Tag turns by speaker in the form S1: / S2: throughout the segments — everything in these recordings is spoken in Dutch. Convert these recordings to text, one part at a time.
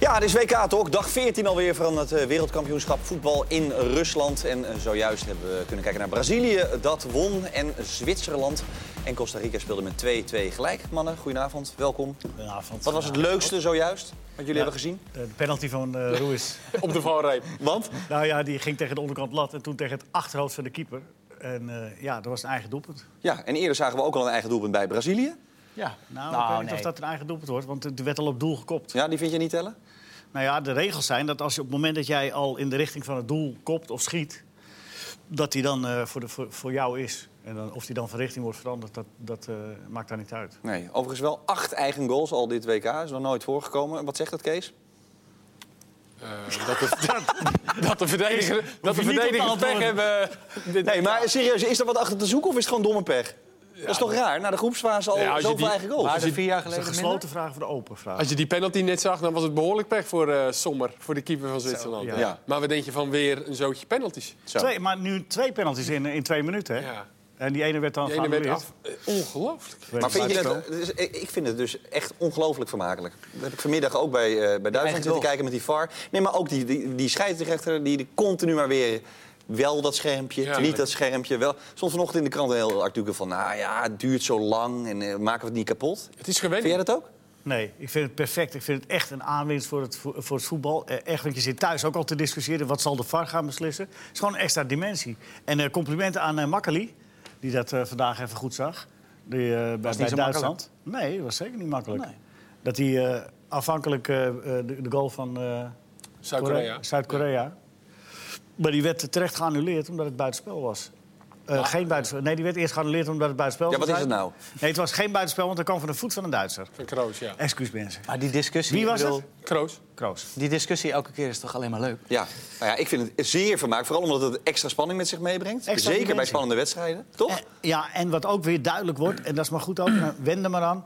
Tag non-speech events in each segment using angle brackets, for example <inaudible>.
S1: Ja, het is WK toch? Dag 14 alweer van het eh, wereldkampioenschap voetbal in Rusland. En eh, zojuist hebben we kunnen kijken naar Brazilië, dat won. En Zwitserland en Costa Rica speelden met 2-2 gelijk. Mannen, goedenavond, welkom.
S2: Goedenavond.
S1: Wat was het leukste zojuist wat jullie hebben gezien?
S2: Eh, De penalty
S1: <laughs>
S2: van eh Ruiz.
S3: Op de valreep.
S1: Want?
S2: nou ja, die ging tegen de onderkant lat en toen tegen het achterhoofd van de keeper. En eh, ja, dat was een eigen doelpunt.
S1: Ja, en eerder zagen we ook al een eigen doelpunt bij Brazilië.
S2: Ja, nou,
S3: Nou,
S2: ik weet niet
S3: nee.
S2: of dat een eigen doelpunt wordt, want het werd al op doel gekopt.
S1: Ja, die vind je niet tellen?
S2: Nou ja, de regels zijn dat als je op het moment dat jij al in de richting van het doel kopt of schiet, dat die dan eh, voor, de, voor, voor jou is. En dan, of die dan van richting wordt veranderd, dat, dat eh, maakt daar niet uit.
S1: Nee, overigens wel acht eigen goals al dit WK. Is nog nooit voorgekomen. Wat zegt dat, Kees?
S3: Eh, dat, de, <laughs> dat, dat de verdediger, dat de
S2: niet op te
S3: verdedigers pech
S2: antwoorden.
S3: hebben. eh, Dit-
S1: Nee, maar serieus, is er wat achter te zoeken of is het gewoon domme pech? dat is toch raar? Na de groepsfase al
S3: Ja, als je
S1: zoveel
S3: die-
S1: eigen goals.
S3: maar-
S4: Waren er vier jaar
S2: Dat is
S4: geleden
S2: een
S4: minder?
S2: gesloten vraag voor de open vraag.
S3: Als je die penalty net zag, dan was het behoorlijk pech voor eh, Sommer. Voor de keeper van Zwitserland.
S2: ja.
S1: Ja.
S3: Maar wat denk je van weer een zootje penalties?
S1: Zo.
S2: Twee, maar nu twee penalties in, in twee minuten, hè?
S3: Ja.
S2: En die ene werd dan
S3: Die ene werd
S2: geannuleerd.
S3: af. eh, Ongelooflijk.
S1: Maar vind je dat, dus, ik ik vind het dus echt ongelooflijk vermakelijk. Dat heb ik vanmiddag ook bij, eh, bij
S4: eigen
S1: Duitsland zitten
S4: goal.
S1: kijken met die VAR. Nee, maar ook die, die, die scheidsrechter die, die continu maar weer... Wel dat schermpje,
S3: Ja,
S1: niet
S3: tuurlijk.
S1: dat schermpje. Wel. Stond vanochtend in de krant een heel artikel van... nou ja, het duurt zo lang en eh, maken we het niet kapot.
S3: Het is gewend.
S1: Vind jij dat ook?
S2: Nee, ik vind het perfect. Ik vind het echt een aanwinst voor het, vo- voor het voetbal. Eh, Echt, want je zit thuis ook al te discussiëren... wat zal de VAR gaan beslissen. Het is gewoon een extra dimensie. En eh, complimenten aan eh Makkeli, die dat eh, vandaag even goed zag. Die, eh, bij, bij
S4: zo
S2: Duitsland. Nee, dat was zeker niet makkelijk. Dat hij eh, afhankelijk eh, eh, de, de goal van eh,
S3: Zuid-Korea.
S2: Kore- Zuid-Korea... Maar die werd terecht geannuleerd omdat het buitenspel was. Eh, geen buitenspel. Nee, die werd eerst geannuleerd omdat het buitenspel
S1: Ah. Ja,
S2: was.
S1: wat is het nou?
S2: Nee, het was geen buitenspel, want dat kwam van de voet van een Duitser.
S3: Van Kroos, ja.
S2: Excuus mensen.
S4: Maar die discussie,
S2: Wie
S4: ik
S2: was
S4: bedoel,
S2: het?
S3: Kroos.
S2: Kroos.
S4: die discussie elke keer is toch alleen maar leuk?
S1: Ja. Nou ja, ik vind het zeer vermakelijk. Vooral omdat het extra spanning met zich meebrengt.
S2: Extra
S1: Zeker bij
S2: dimensie.
S1: spannende wedstrijden. Toch?
S2: Eh, ja, en wat ook weer duidelijk wordt, en dat is maar goed ook, nou, wend er maar aan.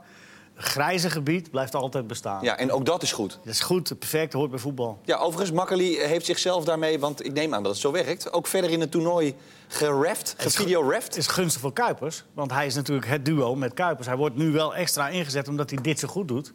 S2: Grijze gebied blijft altijd bestaan.
S1: Ja, en ook dat is goed.
S2: Dat is goed, perfect, hoort bij voetbal.
S1: Ja, overigens, Makkeli heeft zichzelf daarmee, want ik neem aan dat het zo werkt... ook verder in het toernooi gereft,
S2: Het
S1: gevideoreft.
S2: is gunstig voor Kuipers, want hij is natuurlijk het duo met Kuipers. Hij wordt nu wel extra ingezet omdat hij dit zo goed doet.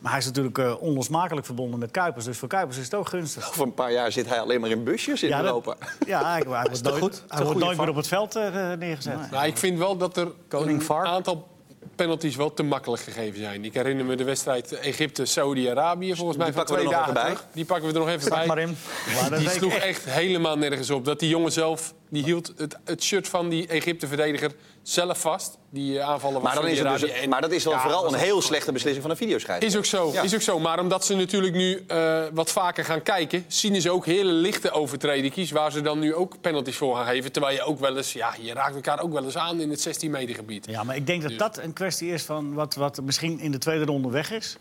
S2: Maar hij is natuurlijk eh, onlosmakelijk verbonden met Kuipers. Dus voor Kuipers is het ook gunstig.
S1: Over een paar jaar zit hij alleen maar in busjes in
S2: dat-
S1: Europa.
S2: ja, hij, hij wordt
S1: toch
S2: nooit,
S1: goed? Toch
S2: hij wordt
S1: goede
S2: nooit
S1: vang?
S2: meer op het veld eh, neergezet.
S3: Nou, ik vind wel dat er
S4: Koning
S3: een
S4: VAR.
S3: aantal penalties wel te makkelijk gegeven zijn. Ik herinner me de wedstrijd Egypte-Saudi-Arabië volgens mij van
S1: pakken we
S3: twee
S1: er nog
S3: dagen
S1: even bij.
S3: terug. Die pakken we er nog even bij.
S4: maar in.
S2: Maar dat
S3: Die
S2: weet ik
S3: sloeg
S2: echt-
S3: echt helemaal nergens op. Dat die jongen zelf, die hield het, het shirt van die Egypte-verdediger zelf vast. Die eh,
S1: <laughs>
S3: aanvallen
S1: Maar,
S3: van
S1: dan is het
S3: Saudi-Arabië.
S1: dus,
S3: En
S1: maar dat is dan
S3: ja,
S1: vooral
S3: dat
S1: een
S3: is-
S1: heel slechte beslissing van een videoschrijver.
S3: Is ook zo,
S1: Ja.
S3: is ook zo. Maar omdat ze natuurlijk nu eh, wat vaker gaan kijken... zien ze ook hele lichte overtredingjes... waar ze dan nu ook penalties voor gaan geven. Terwijl je ook wel eens... Ja, je raakt elkaar ook wel eens aan in het 16 meter gebied.
S2: Ja, maar ik denk dat dat een kwestie is van wat, wat misschien in de tweede ronde weg is.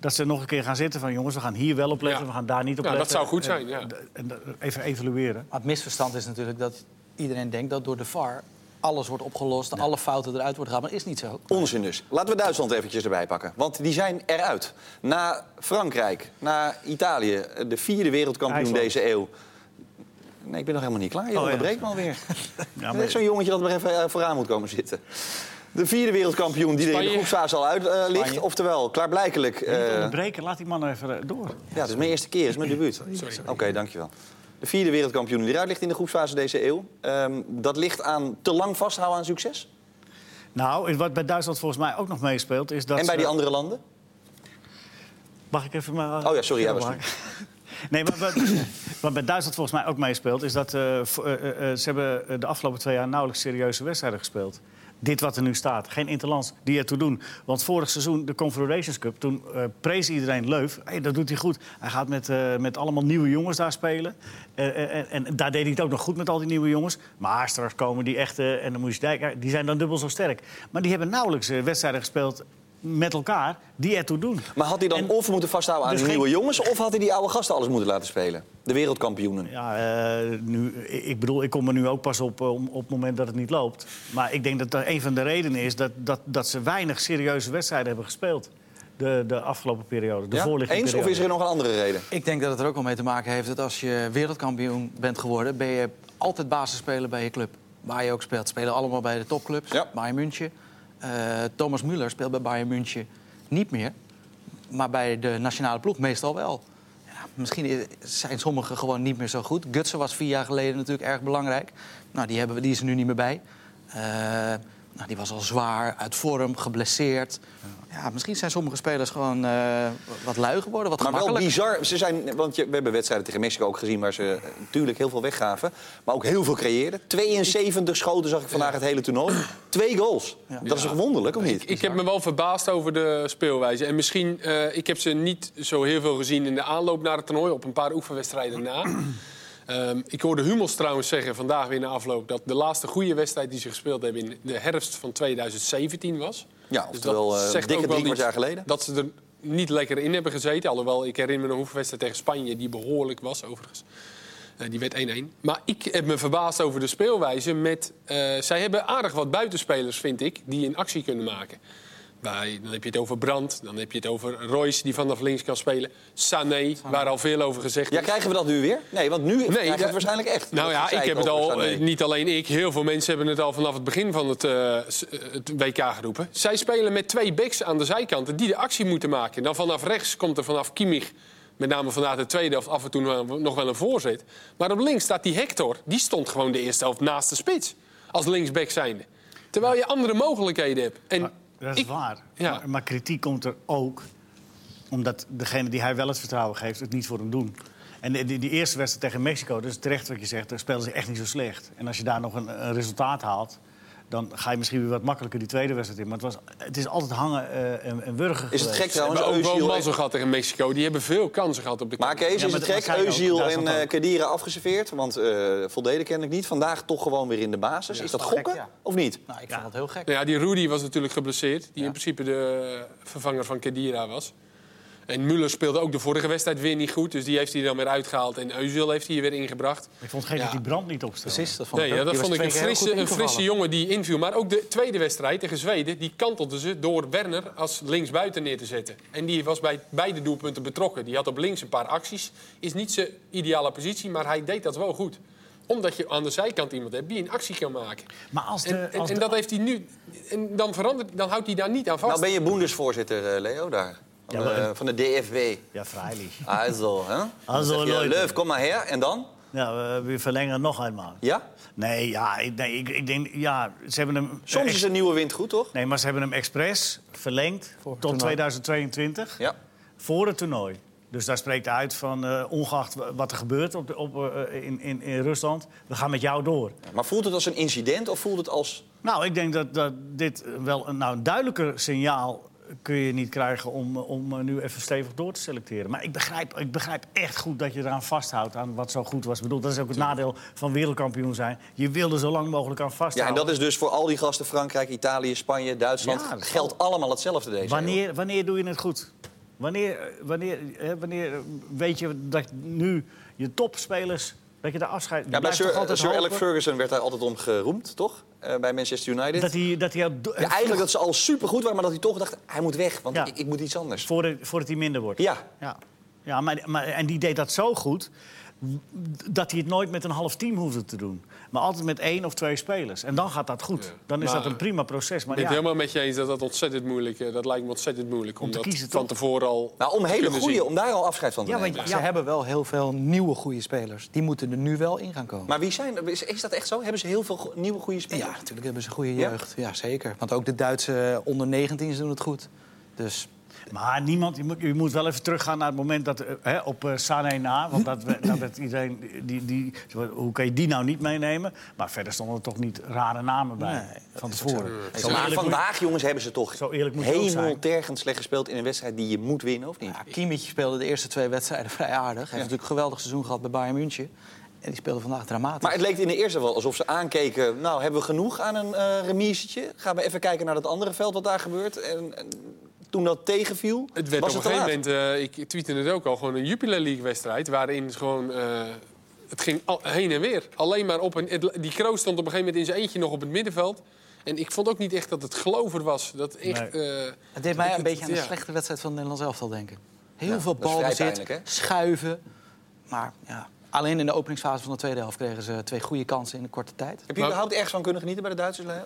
S2: Dat ze nog een keer gaan zitten van jongens, we gaan hier wel op letten,
S3: Ja.
S2: we gaan daar niet op
S3: Ja, dat
S2: letten.
S3: zou goed
S2: En-
S3: zijn, ja.
S2: d- En, d- even evalueren.
S4: Maar het misverstand is natuurlijk dat iedereen denkt dat door de VAR alles wordt opgelost, alle fouten eruit worden gehaald. Maar dat is niet zo.
S1: Onzin dus. Laten we Duitsland eventjes erbij pakken. Want die zijn eruit. Na Frankrijk, na Italië, de vierde wereldkampioen
S2: IJsland.
S1: deze eeuw. Nee, ik ben nog helemaal niet klaar. Je
S2: Oh, ja.
S1: onderbreekt me alweer.
S2: Ja,
S1: Echt zo'n jongetje dat maar even eh, vooraan moet komen zitten. De vierde wereldkampioen die er in de
S3: Spanje.
S1: groepsfase al uit eh, ligt. Oftewel, klaarblijkelijk... eh,
S2: onderbreken, laat die man even eh, door.
S1: ja, het is mijn eerste keer, het is mijn
S2: <laughs>
S1: debuut. Oké, dankjewel. De vierde wereldkampioen die eruit ligt in de groepsfase deze eeuw. Ehm, dat ligt aan te lang vasthouden aan succes.
S2: Nou, en wat bij Duitsland volgens mij ook nog meespeelt is eh, dat...
S1: en bij die
S2: ze-
S1: andere landen.
S2: Mag ik even maar...
S1: Oh ja, sorry, jij was
S2: <laughs> Nee, maar wat, wat bij Duitsland volgens mij ook meespeelt... is dat eh, vo- eh, eh, eh, ze hebben eh, de afgelopen twee jaar nauwelijks serieuze wedstrijden gespeeld. Dit wat er nu staat. Geen interlands die ertoe doen. Want vorig seizoen, de Confederations Cup, toen eh, prees iedereen Leuf. Hey, dat doet hij goed. Hij gaat met, eh, met allemaal nieuwe jongens daar spelen. Eh, eh, en- en daar deed hij het ook nog goed met al die nieuwe jongens. Maar straks komen die echte en de Moesdijk, eh, die zijn dan dubbel zo sterk. Maar die hebben nauwelijks eh, wedstrijden gespeeld met elkaar die ertoe doen.
S1: Maar had hij dan of moeten vasthouden aan
S2: dus
S1: de
S2: geen-
S1: nieuwe jongens... of had hij die oude gasten alles moeten laten spelen? De wereldkampioenen.
S2: Ja, eh, nu, ik ik bedoel, ik kom er nu ook pas op eh, om- op het moment dat het niet loopt. Maar ik denk dat dat een van de redenen is dat, dat, dat ze weinig serieuze wedstrijden hebben gespeeld. De, de afgelopen periode, de
S1: Ja?
S2: voorliggende
S1: Eens of
S2: periode.
S1: is er nog een andere reden?
S4: Ik denk dat het er ook wel mee te maken heeft dat als je wereldkampioen bent geworden, ben je altijd basisspeler bij je club. Waar je ook speelt. Spelen allemaal bij de topclubs.
S1: Ja.
S4: Bayern München. Eh, Thomas Müller speelt bij Bayern München niet meer. Maar bij de nationale ploeg meestal wel. misschien i- zijn sommigen gewoon niet meer zo goed. Gutsen was vier jaar geleden natuurlijk erg belangrijk. Nou, die, hebben, we- die is er nu niet meer bij. Eh, nou, die was al zwaar, uit vorm, geblesseerd. Ja, misschien zijn sommige spelers gewoon eh, wat lui geworden, wat
S1: Maar wel
S4: gemakkelijk.
S1: bizar. Ze zijn, want je, we hebben wedstrijden tegen Mexico ook gezien waar ze eh, natuurlijk heel veel weggaven. Maar ook heel veel creëerden. 72 schoten zag ik vandaag het hele toernooi. Twee goals. Dat is toch wonderlijk, of niet?
S3: Ik heb me wel verbaasd over de speelwijze. En misschien, eh, ik heb ze niet zo heel veel gezien in de aanloop naar het toernooi, op een paar oefenwedstrijden na. <clears throat> Ehm, ik hoorde Hummels trouwens zeggen vandaag weer na afloop dat de laatste goede wedstrijd die ze gespeeld hebben in de herfst van 2017 was.
S1: Ja,
S3: Dus
S1: oftewel
S3: dat
S1: eh,
S3: zegt
S1: dikke
S3: ook
S1: drie
S3: wel
S1: kwart
S3: iets
S1: jaar geleden.
S3: Dat ze er niet lekker in hebben gezeten. Alhoewel, ik herinner me een oefenwedstrijd tegen Spanje die behoorlijk was overigens. Eh, die werd 1-1. Maar ik heb me verbaasd over de speelwijze. Met, eh, zij hebben aardig wat buitenspelers, vind ik, die een actie kunnen maken. Bij, dan heb je het over Brand, dan heb je het over Royce, die vanaf links kan spelen. Sané, waar al veel over gezegd
S1: Ja,
S3: is.
S1: krijgen we dat nu weer? Nee, want nu krijgen we
S3: ja.
S1: het waarschijnlijk echt.
S3: Nou
S1: Dat
S3: ja,
S1: zei
S3: ik heb het
S1: over
S3: al,
S1: Sané.
S3: eh, niet alleen ik, heel veel mensen hebben het al vanaf het begin van het, eh, s- eh, het WK geroepen. Zij spelen met twee backs aan de zijkanten die de actie moeten maken. En dan vanaf rechts komt er vanaf Kimmich, met name vandaag de tweede helft, af en toe wel- nog wel een voorzet. Maar op links staat die Hector, die stond gewoon de eerste helft naast de spits. Als linksback zijnde. Terwijl je andere mogelijkheden hebt. En
S2: Maar dat is
S3: ik-
S2: waar.
S3: Ja.
S2: Maar, maar kritiek komt er ook omdat degene die hij wel het vertrouwen geeft, het niet voor hem doen. En die, die- die eerste wedstrijd tegen Mexico, dus terecht wat je zegt, daar speelden ze echt niet zo slecht. En als je daar nog een, een resultaat haalt, dan ga je misschien weer wat makkelijker die tweede wedstrijd in. Maar het, was, het is altijd hangen eh, en, en wurgen.
S1: Is het gek
S2: geweest.
S3: We
S1: trouwens?
S3: hebben ook wel
S1: Özil-
S3: mazzel gehad tegen Mexico. Die hebben veel kansen gehad op de
S1: Maar
S3: kant.
S1: Kees,
S2: Ja,
S1: is
S2: maar
S1: het
S2: dat-
S1: gek?
S2: maar zij ook.
S1: Eusiel en
S2: Duitsland
S1: eh
S2: ook.
S1: Kedira afgeserveerd? Want eh Voldeden ken ik niet. Vandaag toch gewoon weer in de basis. is dat
S4: wel gek,
S1: gokken
S4: ja.
S1: of niet?
S4: Nou, ik vond dat heel gek.
S3: Nou ja, die Rudy was natuurlijk geblesseerd. Die in principe de eh, vervanger van Kedira was. En Müller speelde ook de vorige wedstrijd weer niet goed. Dus die heeft hij dan weer uitgehaald. En Özil heeft hij hier weer ingebracht.
S2: Ik vond het gek
S3: Ja.
S2: dat die brand niet opstelde.
S4: Precies, dat vond
S3: Nee,
S4: ik
S3: ja,
S4: ook.
S3: dat
S4: Die was
S3: vond ik
S4: twee
S3: een
S4: keer heel
S3: frisse,
S4: goed
S3: een frisse
S4: ingevallen.
S3: jongen die inviel. Maar ook de tweede wedstrijd tegen Zweden... die kantelden ze door Werner als linksbuiten neer te zetten. En die was bij beide doelpunten betrokken. Die had op links een paar acties. Is niet zijn ideale positie, maar hij deed dat wel goed. Omdat je aan de zijkant iemand hebt die een actie kan maken.
S2: Maar als de,
S3: En, en,
S2: als de-
S3: en dat heeft hij nu... En dan, verandert, dan houdt hij daar niet aan vast.
S1: Nou ben je boendesvoorzitter, eh, Leo, daar. Van,
S2: Ja, maar-
S1: eh, van de DFW.
S2: Ja, vrijlich.
S1: Also, hè? Dan zeg je,
S2: Leute.
S1: Leuf, kom maar her. En dan?
S2: Ja, Nou, we, we verlengen nog eenmaal.
S1: Ja?
S2: Nee, ja, ik- nee ik, ik denk, ja, ze hebben hem...
S1: Soms
S2: eh,
S1: is een nieuwe wind goed, toch?
S2: Nee, maar ze hebben hem expres verlengd tot 2022.
S1: Ja.
S2: Voor het toernooi. Dus daar spreekt uit van, eh, ongeacht wa- wat er gebeurt op de, op, eh, in, in, in Rusland, we gaan met jou door.
S1: Maar voelt het als een incident of voelt het als...
S2: Nou, ik denk dat, dat dit wel een, nou, een duidelijker signaal kun je niet krijgen om, eh, om eh, nu even stevig door te selecteren. Maar ik begrijp, ik begrijp echt goed dat je eraan vasthoudt, aan wat zo goed was. Ik bedoel, dat is ook het nadeel van wereldkampioen zijn. Je wil er zo lang mogelijk aan
S1: Ja, en
S2: vasthouden.
S1: dat is dus voor al die gasten, Frankrijk, Italië, Spanje, Duitsland...
S2: Ja, dat is
S1: geldt allemaal hetzelfde deze eeuw.
S2: Wanneer, wanneer doe je het goed? Wanneer, wanneer, hè, wanneer weet je dat nu je topspelers dat je daar afscheid
S1: Ja, bij
S2: blijft toch
S1: Sir,
S2: altijd
S1: Sir
S2: hopen
S1: Alex Ferguson werd daar altijd om geroemd, toch? Eh, bij Manchester United.
S2: dat hij dat hij al do-
S1: Ja, eigenlijk dat ze al supergoed waren, maar dat hij toch dacht... hij moet weg, want
S2: Ja.
S1: ik, ik moet iets anders.
S2: voordat, voordat hij minder wordt.
S1: Ja,
S2: ja. Ja, maar, maar, en die deed dat zo goed dat hij het nooit met een half team hoefde te doen. Maar altijd met één of twee spelers. En dan gaat dat goed. Dan is
S3: Maar-
S2: dat een prima proces. Maar
S3: Ik ben het
S2: ja,
S3: helemaal met je eens dat dat ontzettend moeilijk eh, Dat lijkt me ontzettend moeilijk. Om,
S2: te
S3: dat
S2: kiezen,
S3: van
S2: toch?
S3: tevoren al.
S1: nou, om
S3: te
S1: hele
S3: kunnen
S1: goede,
S3: zien.
S1: om daar al afscheid van te
S2: ja,
S1: nemen.
S2: maar,
S4: Ze
S2: ja,
S4: hebben wel heel veel nieuwe goede spelers. Die moeten er nu wel in gaan komen.
S1: Maar wie zijn... Is, is dat echt zo? Hebben ze heel veel go- nieuwe goede spelers?
S4: Ja, natuurlijk hebben ze een goede
S1: Ja?
S4: jeugd. Ja, zeker. Want ook de Duitse onder-19's doen het goed. Dus
S2: Maar niemand, je moet, je moet wel even teruggaan naar het moment dat eh, hè, op eh Sané na, want dat, we- dat werd iedereen die, die, hoe kan je die nou niet meenemen? Maar verder stonden er toch niet rare namen bij van tevoren. Zo
S1: Maar
S2: eerlijk moet-
S1: vandaag, jongens, hebben ze toch
S2: Zo eerlijk moet je ook zijn.
S1: hemeltergend slecht gespeeld in een wedstrijd die je moet winnen, of niet?
S4: ja, Kimmich speelde de eerste twee wedstrijden <laughs> vrij aardig. Hij heeft natuurlijk een geweldig seizoen gehad bij Bayern München. En die speelde vandaag dramatisch.
S1: Maar het leek in de eerste wel alsof ze aankeken... nou, hebben we genoeg aan een eh remisetje? Gaan we even kijken naar dat andere veld wat daar gebeurt? En, en toen dat tegenviel,
S3: Het werd
S1: was
S3: op een
S1: het te
S3: gegeven
S1: laat.
S3: moment, eh, ik tweette het ook al, gewoon een Jupiler League-wedstrijd. Waarin gewoon. eh, het ging al- heen en weer. Alleen maar op een. het- die Kroos stond op een gegeven moment in zijn eentje nog op het middenveld. En ik vond ook niet echt dat het gelover was. Dat echt. eh,
S4: Het deed mij een beetje aan de
S3: ja.
S4: slechte wedstrijd van het Nederlands elftal denken. Heel
S1: Ja,
S4: veel
S1: dat is vrij
S4: balbezit,
S1: pijnlijk, hè?
S4: schuiven. Maar ja, alleen in de openingsfase van de tweede helft kregen ze twee goede kansen in een korte tijd.
S3: nou-
S1: Heb je überhaupt ergens van kunnen genieten bij de Duitsers? Leo?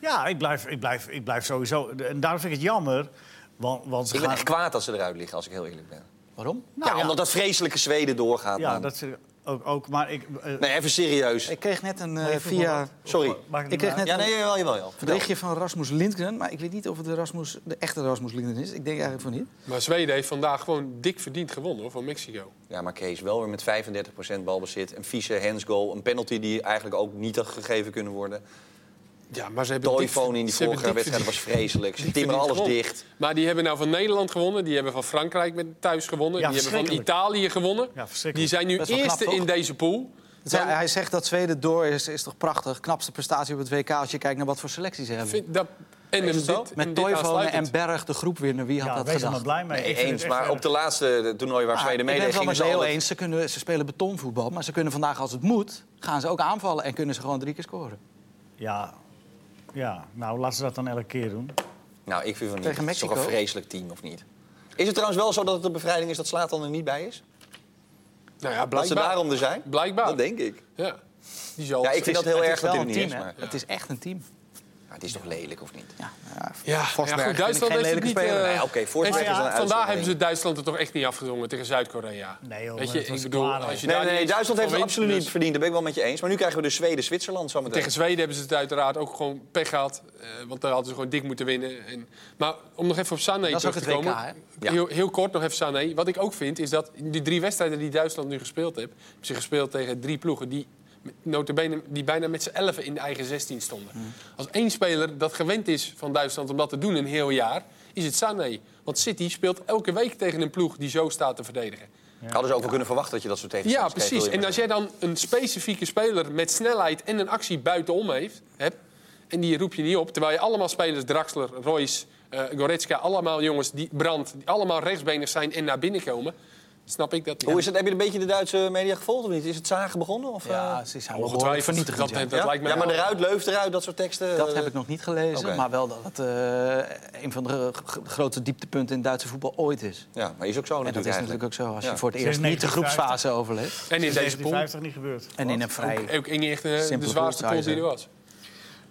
S2: Ja, ik blijf, ik, blijf, ik blijf sowieso. En daarom vind ik het jammer. Want, want ze
S1: Ik ben
S2: gaan-
S1: echt kwaad als ze eruit liggen, als ik heel eerlijk ben.
S4: Waarom?
S1: ja, omdat dat vreselijke Zweden doorgaat.
S2: Nou Ja,
S1: man.
S2: dat is ook, ook. Maar ik. eh,
S1: Nee, even serieus.
S4: Ik kreeg net een eh,
S2: ik voel me
S4: via
S2: wat-
S1: Sorry.
S2: maakt het
S4: Ik
S2: niet
S4: kreeg
S2: uit.
S4: net
S1: Ja, nee, jawel, jawel. jawel.
S4: een berichtje van Rasmus Lindgren. Maar ik weet niet of het de, Rasmus, de echte Rasmus Lindgren is. Ik denk eigenlijk van niet.
S3: Maar Zweden heeft vandaag gewoon dik verdiend gewonnen hoor, van Mexico.
S1: Ja, maar Kees, wel weer met 35% balbezit. Een vieze handsgoal. Een penalty die eigenlijk ook niet had gegeven kunnen worden.
S3: Ja, maar ze hebben dik-
S1: Toyphone in die
S3: ze hebben
S1: vorige
S3: dik
S1: wedstrijd was
S3: <laughs>
S1: vreselijk. Ze timmeren
S3: verdiend
S1: alles
S3: gewonnen.
S1: dicht.
S3: Maar die hebben nou van Nederland gewonnen. Die hebben van Frankrijk met thuis gewonnen.
S2: Ja,
S3: die hebben van
S2: verschrikkelijk.
S3: Italië gewonnen.
S2: Ja, verschrikkelijk.
S3: die zijn nu
S4: Best wel
S3: eerste
S4: knap, toch?
S3: in deze pool.
S4: Het- hij- hij zegt dat Zweden door is, is toch prachtig. Knapste prestatie op het WK als je kijkt naar wat voor selecties ze hebben.
S3: Vind dat, en
S1: Is het
S3: dit-
S1: zo?
S3: en
S4: Met
S3: dit
S4: Toivonen en
S3: aansluitend.
S4: Berg de groep winnen. Wie had
S2: Ja,
S4: dat
S2: wees er
S4: gedacht?
S2: maar blij mee.
S1: Nee,
S2: Ik vind
S1: eens.
S2: het echt,
S1: Maar
S2: eh,
S1: op de laatste toernooi waar
S4: Ah,
S1: Zweden
S4: ik ben
S1: meedeed...
S4: het
S1: gingen
S4: wel met
S1: ze
S4: Leo
S1: altijd-
S4: eens. Ze, kunnen, ze spelen betonvoetbal, maar ze kunnen vandaag als het moet... gaan ze ook aanvallen en kunnen ze gewoon drie keer scoren.
S2: Ja. Ja, nou laten ze dat dan elke keer doen.
S1: Nou, ik vind van niet.
S4: Tegen
S1: Het is toch een
S4: Mexico?
S1: vreselijk team, of niet? Is het trouwens wel zo dat het een bevrijding is dat Slatan er niet bij is?
S3: Nou
S1: Dat
S3: ja,
S1: ze
S3: blijkbaar.
S1: daarom er zijn?
S3: Blijkbaar.
S1: Dat denk ik.
S3: Ja. Die zal...
S1: Ja, ik vind dat heel
S4: Het
S1: erg
S4: is wel
S1: dat hij er
S4: een
S1: niet
S4: team,
S1: is.
S4: hè?
S1: Maar
S4: Het is echt een team.
S1: maar het is toch lelijk, of niet?
S4: Ja, ja,
S3: ja,
S4: Forsberg
S3: ja,
S4: vind
S3: goed,
S4: ik
S3: Duitsland
S4: geen
S3: heeft het
S4: lelijke
S3: niet...
S4: speler.
S3: eh,
S1: Nee, oké, Forsberg
S3: heeft-
S1: is een
S3: Vandaag
S1: uitzondering.
S3: hebben ze Duitsland er toch echt niet afgedwongen tegen Zuid-Korea.
S2: Nee, joh,
S3: Weet
S2: maar
S3: je,
S2: het was
S3: ik bedoel,
S2: klaar,
S3: als je
S1: Nee, nee,
S3: daar niet
S1: nee,
S3: eens
S1: Duitsland heeft het
S3: van wint,
S1: absoluut niet
S3: dus-
S1: verdiend. Daar ben ik wel met je eens. Maar nu krijgen we dus Zweden-Zwitserland zometeen.
S3: Tegen Zweden hebben ze het uiteraard ook gewoon pech gehad. eh, want daar hadden ze gewoon dik moeten winnen. En, maar om nog even op Sané
S4: Dat is
S3: terug
S4: ook
S3: te
S4: het WK,
S3: komen.
S1: hè?
S3: heel, heel kort nog even Sané. Wat ik ook vind, is dat die drie wedstrijden die Duitsland nu gespeeld heeft... hebben ze gespeeld tegen drie ploegen die met- notabene, die bijna met z'n elfen in de eigen 16 stonden.
S4: Hmm.
S3: Als één speler dat gewend is van Duitsland om dat te doen een heel jaar... is het Sané. Want City speelt elke week tegen een ploeg die zo staat te verdedigen.
S1: Hadden ze ook wel kunnen verwachten dat je dat soort
S3: Ja,
S1: tegenstanders kreeg,
S3: precies.
S1: wil je
S3: En
S1: maar
S3: als jij dan een specifieke speler met snelheid en een actie buitenom heeft, hebt... en die roep je niet op, terwijl je allemaal spelers... Draxler, Royce, eh, Goretzka, allemaal jongens die brand... die allemaal rechtsbenig zijn en naar binnen komen... snap ik dat
S1: zeggen. Hoe is het? Heb je een beetje de Duitse media gevolgd of niet? Is het zagen begonnen? Of, eh,
S4: ja ze zijn wel behoorlijk
S3: ongetwijfeld.
S4: vernietigend.
S3: Dat-
S4: ja.
S3: dat-
S1: ja?
S3: lijkt me
S1: ja, maar
S3: wel.
S1: eruit, leuft eruit, dat soort teksten.
S4: Dat
S1: eh,
S4: heb ik nog niet gelezen,
S1: Oké.
S4: maar wel dat het eh, een van de g- g- grote dieptepunten in Duitse voetbal ooit
S3: Oh,
S4: is.
S1: Ja, maar is ook zo
S4: En dat
S1: natuurlijk
S4: is
S1: eigenlijk.
S4: natuurlijk ook zo als
S1: Ja.
S4: je voor het
S2: Sinds
S4: eerst niet de
S2: 1950.
S4: groepsfase overleeft.
S3: En in deze pool,
S2: 1950 niet gebeurd.
S4: En in een vrij...
S3: ook in echt eh, de
S4: Simpele
S3: zwaarste pool die
S4: poolstrijd,
S3: er was.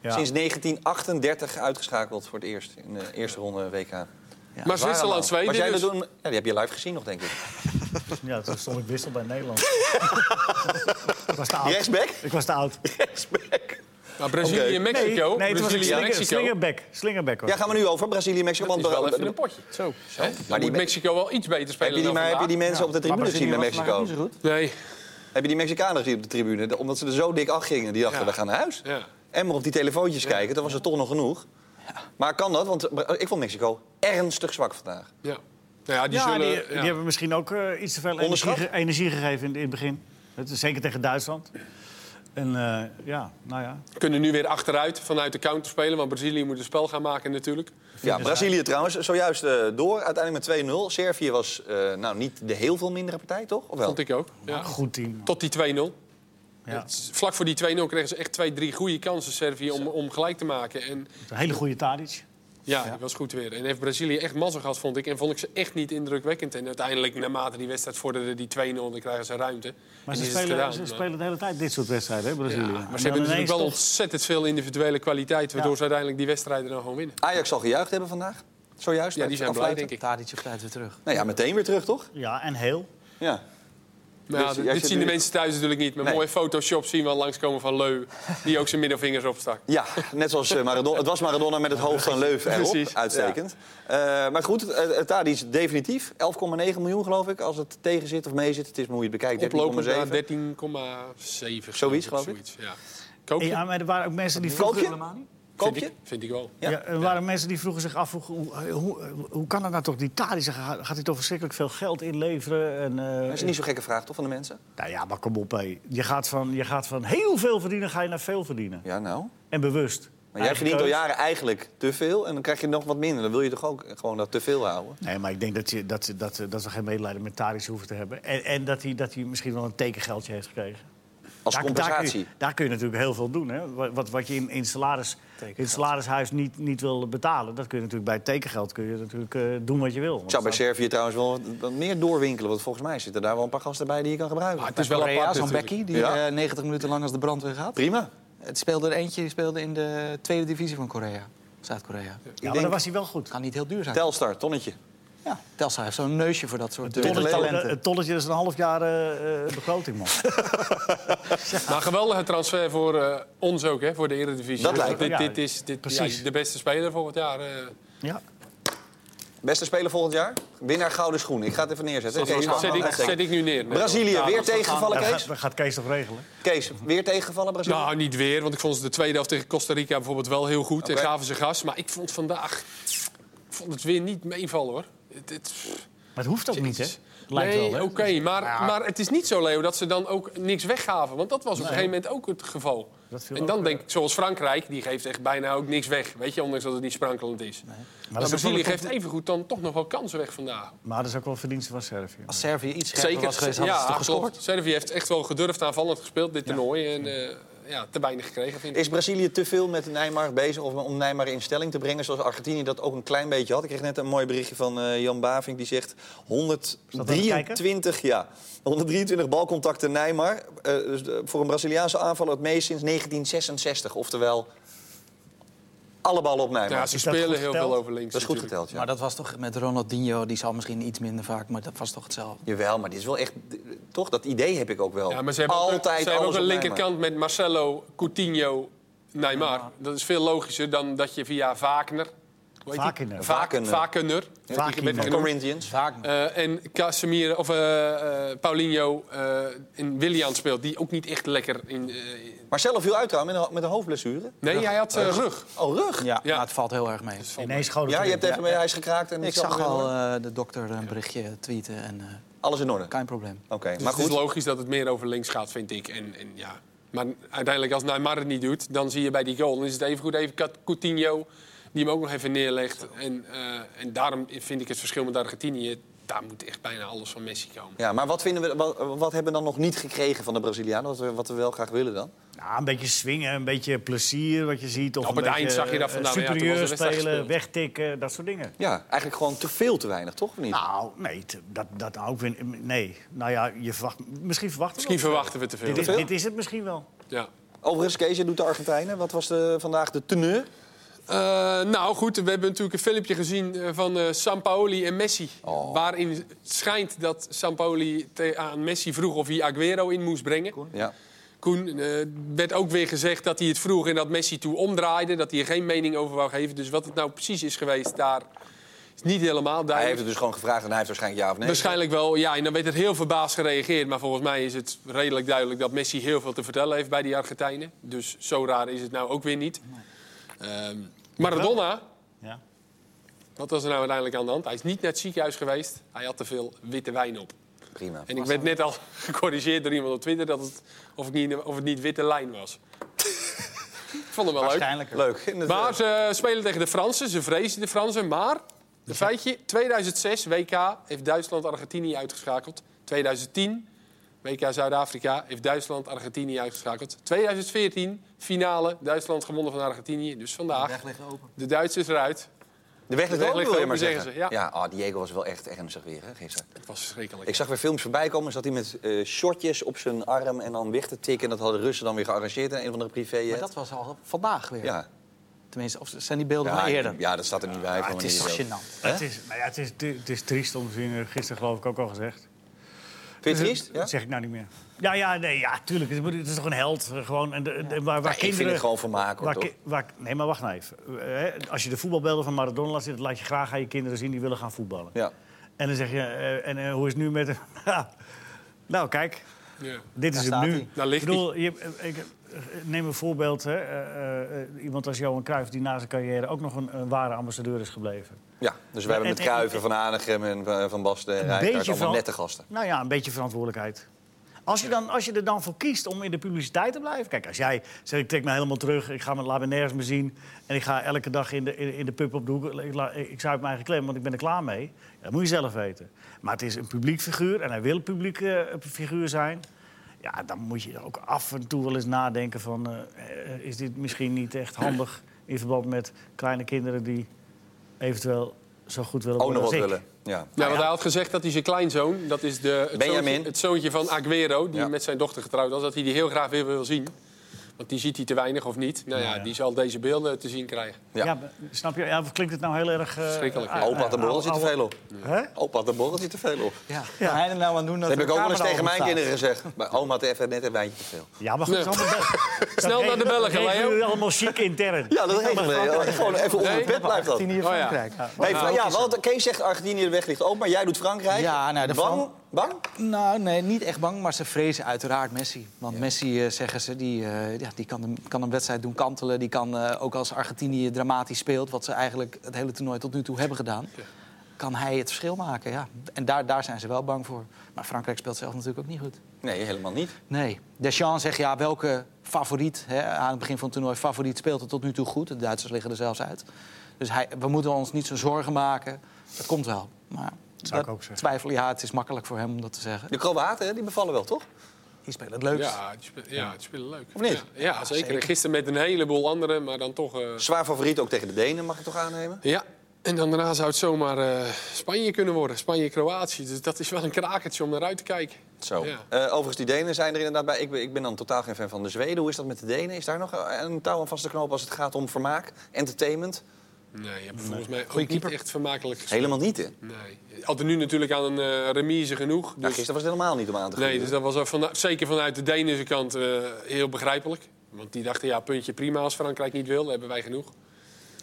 S2: Ja.
S1: Sinds 1938 uitgeschakeld voor het eerst in de eerste ronde WK.
S3: maar Zwitserland,
S1: Waarom? Was jij
S3: Zweden
S1: dat
S3: dus.
S1: doen? Ja, die heb je live gezien nog, denk ik.
S2: <laughs> Ja, toen stond ik wissel bij
S4: <laughs>
S2: Nederland. ik was te oud.
S1: Rechtsback? <laughs>
S2: Ik was te oud.
S1: Rechtsback.
S3: Maar Brazilië en Mexico.
S2: nee, toen was ik
S3: Brazilië en
S2: slinger,
S3: Mexico.
S2: slingerback. Slingerback was
S1: Ja, gaan we nu over. Brazilië, Mexico.
S3: Dat
S1: Want
S3: is wel even
S1: eh,
S3: een potje.
S4: Zo.
S3: Hè?
S1: Maar
S3: Maar
S1: die
S3: die Mexico wel iets beter
S1: heb, je
S3: spelen
S1: die,
S3: dan
S1: maar heb je die
S3: vandaag.
S1: mensen op de tribune gezien bij
S4: Brazilië was vandaag
S1: Mexico?
S4: niet zo goed.
S3: Nee.
S1: Heb je die Mexicanen gezien op de tribune? De- Omdat ze er zo dik afgingen. Die dachten,
S3: Ja.
S1: we gaan naar huis.
S3: Ja.
S1: En maar op die telefoontjes kijken, dat was er toch nog genoeg. Maar kan dat? Want eh, ik vond Mexico ernstig zwak vandaag.
S3: Ja. Nou ja, die
S2: ja,
S3: zullen...
S2: die,
S3: ja.
S2: die hebben misschien ook eh, iets te veel energie,
S1: Onderschat?
S2: ge- energie gegeven in, in het begin. Het is zeker tegen Duitsland. En eh, ja, nou ja.
S3: kunnen nu weer achteruit vanuit de counter spelen. Want Brazilië moet een spel gaan maken natuurlijk.
S1: Ja, Brazilië trouwens, zojuist eh, door. Uiteindelijk met 2-0. Servië was eh, nou, niet de heel veel mindere partij, toch? Of wel?
S3: Vond ik ook. Ja.
S2: Goed team.
S3: Tot die 2-0.
S2: Ja.
S3: Vlak voor die 2-0 kregen ze echt twee, drie goede kansen Servië om, om gelijk te maken. En
S2: Een hele goede Tadic.
S3: ja, dat was goed weer. En heeft Brazilië echt mazzel gehad, vond ik. En vond ik ze echt niet indrukwekkend. En uiteindelijk, naarmate die wedstrijd vorderde, die 2-0, dan krijgen ze ruimte.
S2: Maar
S3: En
S2: ze
S3: is het
S2: spelen,
S3: gedaan.
S2: ze
S3: Maar-
S2: spelen de hele tijd dit soort wedstrijden, hè, Brazilië.
S3: Ja,
S2: En
S3: maar ze
S2: dan
S3: hebben natuurlijk
S2: ineens
S3: wel
S2: toch-
S3: ontzettend veel individuele kwaliteit... waardoor
S2: Ja.
S3: ze uiteindelijk die wedstrijden dan gewoon winnen.
S1: Ajax zal gejuicht hebben vandaag. Zojuist.
S3: Ja, die zijn blij, denk ik. Ah,
S4: Tadic op tijd weer terug.
S1: Nou ja, meteen weer terug, toch?
S2: Ja, en heel.
S1: Ja.
S3: Maar ja,
S1: Dus jij
S3: Nou, dit
S1: zit
S3: zien de
S1: nu-
S3: mensen thuis natuurlijk niet. Maar
S1: Nee.
S3: mooie Photoshop zien we al langskomen van Leu... die ook zijn middelvingers
S1: <laughs>
S3: opstak.
S1: Ja, net zoals eh, Maradona. Het was Maradona met het hoofd van Leuven erop.
S3: Precies,
S1: Uitstekend. Eh, maar goed, eh, eh, Tadic definitief. 11,9 miljoen geloof ik. Als het tegen zit of mee zit, het is maar hoe je het bekijkt.
S3: Oplopend naar
S1: 13,7.
S3: 13,7.
S1: Zoiets, geloof ik.
S3: ja. Koop je?
S2: Ja, maar er waren ook mensen die
S1: Koop
S2: vroegen,
S1: je? Koop
S3: vind
S1: je?
S3: Ik, vind ik wel.
S2: ja. er waren mensen die vroegen zich af, hoe, hoe, hoe, hoe kan dat nou toch? Die Tadic, gaat hij toch verschrikkelijk veel geld inleveren? En, eh,
S1: Dat is niet zo'n gekke vraag, toch, van de mensen?
S2: Nou ja, maar kom op, hé. Je, gaat van, je gaat van heel veel verdienen, ga je naar veel verdienen.
S1: Ja, nou.
S2: En bewust.
S1: Maar jij
S2: Eigen
S1: verdient al
S2: keus.
S1: jaren eigenlijk te veel. En dan krijg je nog wat minder. Dan wil je toch ook gewoon dat te veel houden?
S2: Nee, maar ik denk dat, je, dat, dat, dat we geen medelijden met Tadic hoeven te hebben. En, en dat, hij, dat hij misschien wel een tekengeldje heeft gekregen.
S1: Als
S2: daar, Daar kun,
S1: compensatie.
S2: je, daar kun je natuurlijk heel veel doen. Hè? Wat- Wat, wat je in, in, salaris, in het salarishuis niet, niet wil betalen... dat kun je natuurlijk bij tekengeld kun je natuurlijk, eh, doen wat je wil.
S1: Ik zou bij Servië trouwens wel wat- wat meer doorwinkelen. Want volgens mij zitten daar wel een paar gasten bij die je kan gebruiken.
S3: Maar het is wel
S4: Korea,
S3: apart
S4: zo'n
S3: natuurlijk.
S4: Becky, die
S1: Ja.
S4: eh, 90 minuten lang als de brandweer gaat.
S1: Prima.
S4: Het speelde er eentje, die speelde in de tweede divisie van Korea. Zuid-Korea.
S2: ja, maar
S1: denk-
S2: dan was hij wel goed.
S4: Het gaat niet heel duur zijn.
S1: Telstar, tonnetje.
S4: Ja, Telstra heeft zo'n neusje voor dat soort dingen.
S1: Witte
S2: Tolletje,
S1: talenten.
S2: het tolletje is een half jaar eh, eh, begroting,
S3: <laughs>
S2: man.
S3: Maar geweldige transfer voor eh, ons ook, hè, voor de Eredivisie. Dus
S1: Dat lijkt
S2: me,
S3: dit,
S2: ja.
S3: dit is dit,
S2: Precies.
S3: ja, de beste speler volgend jaar. eh
S2: ja.
S1: Beste speler volgend jaar? Winnaar Gouden Schoen. Ik ga het even neerzetten.
S3: dat
S1: Kees,
S3: zet, ik,
S1: uitstekend.
S3: zet ik nu neer. Nee.
S1: Brazilië, weer tegengevallen,
S2: Dat
S1: Kees?
S2: gaat, dat gaat Kees toch regelen?
S1: Kees, weer tegengevallen, Brazilië?
S3: Nou, niet weer, want ik vond ze de tweede helft tegen Costa Rica bijvoorbeeld wel heel goed. En
S1: Oké.
S3: gaven ze gas. Maar ik vond vandaag ik vond het weer niet meevallen, hoor. Het, het,
S2: Maar het hoeft ook niet, hè? Lijkt
S3: nee,
S2: wel, hè? Dus-
S3: oké. maar, maar het is niet zo, Leo, dat ze dan ook niks weggaven. Want dat was op een gegeven moment ook het geval.
S2: Dat viel
S3: En
S2: ook,
S3: dan
S2: eh,
S3: denk ik, zoals Frankrijk, die geeft echt bijna ook niks weg. Weet je, ondanks dat het niet sprankelend is.
S2: Maar
S3: Maar
S2: dat is ook wel
S3: Brazilië
S2: een
S3: geeft evengoed dan toch nog wel kansen weg vandaag.
S2: Maar dat is ook wel verdienste van Servië.
S4: Als Servië iets scherper was geweest, hadden ze
S3: ja,
S4: toch gescoord?
S3: klopt. Servië heeft echt wel gedurfd aanvallend gespeeld, dit toernooi. En eh, ja, te weinig gekregen, vind ik.
S1: Is Brazilië te veel met Neymar bezig of om Neymar in stelling te brengen... zoals Argentinië dat ook een klein beetje had? Ik kreeg net een mooi berichtje van eh, Jan Bavink die zegt...
S2: dat aan het
S1: 123, ja, 123 balcontacten Neymar. Eh, dus de- voor een Braziliaanse aanvaller het meest sinds 1966. Oftewel, alle ballen op Neymar.
S3: Ja,
S1: dat
S3: ze
S2: Is dat
S3: spelen
S2: goed
S3: heel
S2: geteld?
S3: veel over links.
S1: is goed
S3: natuurlijk.
S1: geteld, ja.
S4: Maar dat was toch met Ronaldinho, die zal misschien iets minder vaak, maar dat was toch hetzelfde.
S1: Jawel, maar dit is wel echt... Toch, dat idee heb ik ook wel.
S3: Ja, maar ze hebben ook-
S1: Altijd
S3: ze hebben ook
S1: alles
S3: een
S1: op Neymar.
S3: linkerkant met Marcelo, Coutinho, Neymar. Dat is veel logischer dan dat je via Wagner... hoe heet die?
S2: Wagner.
S3: Wagner. Wagner.
S2: Wagner.
S3: Werd
S1: Van
S3: genoemd.
S1: Corinthians.
S4: Vaak niet.
S3: Eh, en Casemiro, of eh, eh, Paulinho eh, en Willian speelt, die ook niet echt lekker in... eh,
S1: Marcelo viel uit trouwens met een- met een hoofdblessure.
S3: nee, hij had eh, rug.
S1: Oh, rug?
S4: Ja,
S3: ja.
S4: maar Nou, het valt heel erg mee.
S2: Ineens schoot het
S1: Ja, je
S2: erin.
S1: hebt even mee, hij is gekraakt. En
S4: Ik
S1: het
S4: zag
S1: zal weer
S4: al
S1: door.
S4: eh, de dokter een berichtje tweeten en eh,
S1: Alles in orde.
S4: kein probleem.
S1: Oké,
S3: Dus
S1: maar
S3: het
S1: goed.
S3: is logisch dat het meer over links gaat, vind ik. En, en ja. Maar uiteindelijk, als Neymar het niet doet, dan zie je bij die goal... dan is het even goed even Cat- Coutinho, die hem ook nog even neerlegt. En, eh, en daarom vind ik het verschil met Argentinië... daar moet echt bijna alles van Messi komen.
S1: Ja, maar wat, vinden we, wat, wat hebben we dan nog niet gekregen van de Brazilianen? Wat we, wat we wel graag willen dan?
S2: Nou, een beetje swingen, een beetje plezier wat je ziet. Of
S3: Op
S2: een
S3: het
S2: beetje,
S3: eind zag je dat
S2: eh,
S3: vandaag, ja, toen was de
S2: Superieur
S3: wedstrijd
S2: spelen,
S3: gespeeld.
S2: wegtikken, dat soort dingen.
S1: Ja, eigenlijk gewoon te veel te weinig, toch? Of niet?
S2: Nou, nee, te- dat, dat ook weer. Nee, nou ja, je verwacht, misschien verwachten we
S3: Misschien
S2: wel.
S3: verwachten we te veel.
S2: dit, is,
S1: veel.
S2: dit is het misschien wel.
S3: Ja.
S1: Overigens, Kees, je doet de Argentijnen. Wat was de, vandaag de teneur?
S3: Eh, nou goed, we hebben natuurlijk een filmpje gezien eh, van eh, Sampaoli en Messi.
S1: Oh.
S3: Waarin schijnt dat Sampaoli te- aan Messi vroeg of hij Aguero in moest brengen.
S1: Ja.
S3: Koen, eh, werd ook weer gezegd dat hij het vroeg en dat Messi toe omdraaide. Dat hij er geen mening over wou geven. Dus wat het nou precies is geweest, daar is niet helemaal
S1: Hij
S3: duidelijk.
S1: heeft het dus gewoon gevraagd en hij heeft waarschijnlijk ja of nee.
S3: Waarschijnlijk wel, ja. En dan werd er heel verbaasd gereageerd. Maar volgens mij is het redelijk duidelijk dat Messi heel veel te vertellen heeft bij die Argentijnen. Dus zo raar is het nou ook weer niet. Ehm, Maradona,
S2: Ja.
S3: wat was er nou uiteindelijk aan de hand? Hij is niet naar het ziekenhuis geweest. Hij had te veel witte wijn op.
S1: Prima.
S3: En ik werd net al <laughs> gecorrigeerd door iemand op Twitter dat het, of, ik niet, of het niet witte lijn was. <laughs> ik vond hem wel leuk.
S4: Waarschijnlijk.
S1: Leuk. inderdaad.
S3: Maar ze spelen tegen de Fransen. Ze vrezen de Fransen. Maar, een feitje, 2006 WK heeft Duitsland Argentinië uitgeschakeld. 2010 WK Zuid-Afrika heeft Duitsland Argentinië uitgeschakeld. 2014 finale Duitsland gewonnen van Argentinië. Dus vandaag de Duitsers eruit.
S1: de weg ligt
S3: de weg
S1: open,
S3: ligt
S1: wil je
S3: open,
S1: maar zeggen.
S3: zeggen ze,
S1: Ja, ah, Diego was wel echt ernstig weer, hè, gisteren.
S3: Het was verschrikkelijk.
S1: Ik zag weer films voorbij komen. Zat hij met eh shortjes op zijn arm en dan weg te tikken. En dat hadden Russen dan weer gearrangeerd in een of andere privé.
S4: Maar dat was al vandaag weer.
S1: Ja.
S4: Tenminste, of zijn die beelden
S1: Ja,
S4: van eerder? Ah,
S1: ja, dat staat er niet bij. van
S4: het is toch
S1: wanneer je wil.
S4: gênant.
S2: Het, is, nou ja, het, is, het is triest om te zien, eh, gisteren geloof ik ook al gezegd.
S1: Vind je het triest? Ja?
S2: Dat zeg ik nou niet meer. Ja, ja, nee, ja, tuurlijk. Het, moet- het is toch een held. eh, Gewoon, en de, de- waar, waar
S1: Ja, ik vind het
S2: kinderen-
S1: gewoon vermaak, hoor,
S2: waar
S1: toch?
S2: ki- waar- nee, maar wacht nou even. Eh, hè, als je de voetbalbeelden van Maradona laat zien, dat laat je graag aan je kinderen zien die willen gaan voetballen.
S1: Ja.
S2: En dan zeg je, eh, en eh, hoe is het nu met hem? <laughs> nou, kijk,
S3: Ja.
S2: dit is het
S4: staat
S2: nu.
S4: hij.
S3: Daar ligt
S2: ik bedoel, je, eh, ik, eh, neem een voorbeeld. Hè, eh, eh, iemand als Johan Cruijff, die na zijn carrière ook nog een, een ware ambassadeur is gebleven.
S1: Ja, dus we hebben
S2: en-
S1: met Kruiven, Van Hanegem en eh, Van Basten en Rijkaard allemaal nette gasten.
S2: Nou ja, een beetje verantwoordelijkheid. Als je, dan, als je er dan voor kiest om in de publiciteit te blijven. Kijk, als jij zegt: ik trek me helemaal terug, ik ga me, laat me nergens meer zien. en ik ga elke dag in de, in, in de pub op de hoek. Ik, la- ik zuip mijn eigen klem, want ik ben er klaar mee. Dat moet je zelf weten. Maar het is een publiek figuur en hij wil een publiek eh, figuur zijn. Ja, dan moet je ook af en toe wel eens nadenken: van, eh, eh, is dit misschien niet echt handig in verband met kleine kinderen die eventueel zo goed willen
S1: Ook
S2: worden
S1: nog wat
S2: als ik?
S1: willen. Ja.
S3: Ja, want hij had gezegd dat hij zijn kleinzoon, dat is de, het,
S1: Benjamin.
S3: Zoontje, het zoontje van Aguero, die
S1: Ja.
S3: met zijn dochter getrouwd was, dat hij die heel graag weer wil zien. Want die ziet hij te weinig of niet. Nou ja,
S2: ja.
S3: die zal deze beelden te zien krijgen. Ah,
S1: Ja.
S2: Ja. maar snap je? Ja, of klinkt het nou heel erg... eh,
S3: Schrikkelijk, ja.
S2: eh,
S1: Opa had de
S2: eh,
S1: borrel zit te
S2: oude-
S1: veel op.
S2: Hè?
S1: Opa had de borrel zit te veel op.
S4: Ja. Wat hij er nou aan het doen dat
S1: Dat heb
S4: de
S1: ik ook wel eens
S4: camera
S1: tegen mijn
S4: openstaat?
S1: kinderen gezegd. Bij oma had even net een wijntje te veel.
S2: Ja, maar goed.
S3: Nee.
S2: het is allemaal be- dat
S3: Snel <laughs> naar
S2: regel-
S3: de Belgen,
S2: regelen
S3: Leo.
S2: jullie allemaal chic intern.
S1: Ja, dat regelen we. Gewoon even onder
S3: Nee,
S1: het bed blijft dat.
S4: Argentinië,
S3: Oh ja.
S4: Frankrijk.
S1: Hey, Fra- ja, want Kees zegt Argentinië de weg ligt open, maar jij doet Frankrijk.
S4: Ja, nou, de
S1: bang,
S4: Fran-
S1: bang?
S4: Nou, nee, niet echt bang, maar ze vrezen uiteraard Messi. Want Messi, eh, zeggen ze, die, eh, ja, die kan, hem- kan een wedstrijd doen kantelen. Die kan, eh, ook als Argentinië dramatisch speelt... wat ze eigenlijk het hele toernooi tot nu toe hebben gedaan... kan hij het verschil maken, ja. En daar, daar zijn ze wel bang voor. Maar Frankrijk speelt zelf natuurlijk ook niet goed.
S1: Nee, helemaal niet.
S4: Nee. Deschamps zegt, ja, welke favoriet... Hè, aan het begin van het toernooi, favoriet speelt het tot nu toe goed. De Duitsers liggen er zelfs uit. Dus hij, we moeten ons niet zo zorgen maken. Dat komt wel. Maar
S2: zou ik
S4: dat
S2: ook zeggen.
S4: Twijfel, ja, het is makkelijk voor hem om dat te zeggen.
S1: De Kroaten, hè, die bevallen wel, toch?
S4: Die spelen het leukst.
S3: Ja, die spelen, ja, die spelen leuk.
S1: Of niet?
S3: Ja, ja, zeker. En Gisteren met een heleboel anderen, maar dan toch... eh,
S1: Zwaar favoriet ook tegen de Denen, mag ik toch aannemen?
S3: Ja, en dan daarna zou het zomaar eh, Spanje kunnen worden. Spanje-Kroatië. Dus dat is wel een krakertje om naar uit te kijken.
S1: Zo.
S3: Ja.
S1: Eh, overigens, die Denen zijn er inderdaad bij. Ik ben, ik ben dan totaal geen fan van de Zweden. Hoe is dat met de Denen? Is daar nog een touw aan vast te knopen als het gaat om vermaak, entertainment?
S3: Nee, je hebt volgens mij ook
S4: Goeie
S3: niet
S4: keeper.
S3: echt vermakelijk gespeeld.
S1: Helemaal niet, hè? Nou,
S3: Nee. Hadden nu natuurlijk aan een eh, remise genoeg. Dus...
S1: gisteren was het helemaal niet om aan te gaan.
S3: Nee, dus dat was al vana- zeker vanuit de Deense kant eh, heel begrijpelijk. Want die dachten, ja, puntje prima als Frankrijk niet wil. hebben wij genoeg.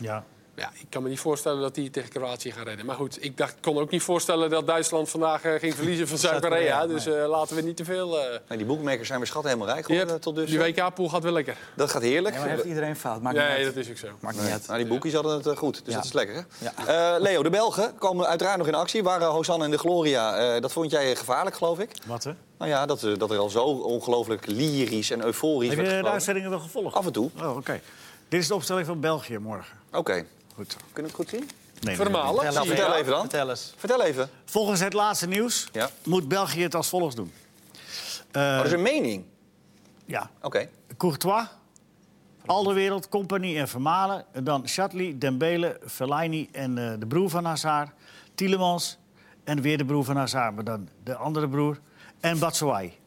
S2: Ja.
S3: Ja, ik kan me niet voorstellen dat die tegen Kroatië gaan redden. Maar goed, ik dacht, kon ook niet voorstellen dat Duitsland vandaag eh, ging verliezen van Zuid-Korea. Dus eh, laten we niet te veel... eh,
S1: Nee, die boekmakers zijn weer schat helemaal rijk
S3: je
S1: geworden
S3: hebt-
S1: eh, tot dus.
S3: Die WK-pool gaat wel lekker.
S1: Dat gaat heerlijk.
S4: Ja, maar heeft iedereen fout? Maakt niet
S3: Nee,
S4: uit.
S3: dat is ook zo.
S4: Maakt niet
S1: Nee.
S4: uit.
S1: Nou, die boekies hadden het eh, goed, dus
S4: Ja.
S1: dat is lekker, hè? Eh, Leo, de Belgen komen uiteraard nog in actie. Waren Hosanna en de Gloria, eh, dat vond jij gevaarlijk, geloof ik?
S2: Wat, hè?
S1: Nou ja, dat, eh, dat er al zo ongelooflijk lyrisch en euforisch werd
S2: Heb je de
S1: gesproken.
S2: uitzendingen wel gevolgd?
S1: Af en toe.
S2: Oh, oké. Dit is de opstelling van België morgen.
S1: Oké,
S2: Goed zo.
S1: kunnen we het goed zien?
S2: Nee,
S3: Vermalen.
S1: Nou,
S3: zie je.
S1: vertel even dan.
S4: Vertel eens.
S1: Vertel even.
S2: Volgens het laatste nieuws
S1: Ja.
S2: moet België het als volgt doen. Eh,
S3: Oh,
S1: dat
S3: dus-
S1: is een mening.
S2: ja.
S1: Oké.
S2: Courtois, Alderwereld, Compagnie en Vermalen. En Dan Shatley, Dembele, Fellaini en eh, de broer van Hazard. Tielemans en weer de broer van Hazard, maar dan de andere broer. En Batshuayi.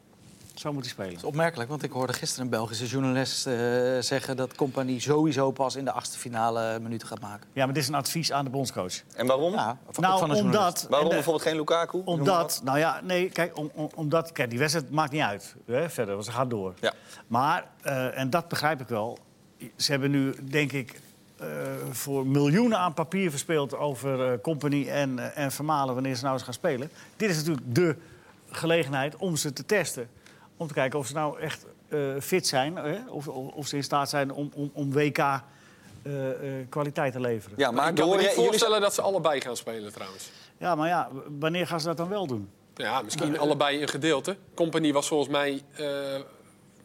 S2: Zo moet hij spelen.
S4: Dat is opmerkelijk, want ik hoorde gisteren een Belgische journalist eh, zeggen dat Compagnie sowieso pas in de achtste finale minuten gaat maken.
S2: Ja, maar dit is een advies aan de bondscoach.
S1: En waarom?
S4: Ja, van-
S2: nou,
S4: van een journalist.
S2: omdat...
S1: Waarom
S2: en de-
S1: bijvoorbeeld geen Lukaku? Noem maar
S2: Omdat, nou ja, nee, kijk, om, om- omdat, kijk, die wedstrijd maakt niet uit hè, verder, want ze gaan door.
S1: Ja.
S2: Maar, eh, en dat begrijp ik wel, ze hebben nu, denk ik, eh, voor miljoenen aan papier verspeeld over eh, Company en, eh, en Vermalen wanneer ze nou eens gaan spelen. Dit is natuurlijk de gelegenheid om ze te testen. Om te kijken of ze nou echt eh, fit zijn, hè, of, of, of ze in staat zijn om, om, om WK eh, eh, kwaliteit te leveren.
S1: wat. Ja, maar
S3: ik kan
S1: door
S3: me niet
S1: jullie
S3: voorstellen dat ze allebei gaan spelen trouwens.
S2: ja, maar ja, w- wanneer gaan ze dat dan wel doen?
S3: Ja, misschien allebei een gedeelte. Company was volgens mij eh,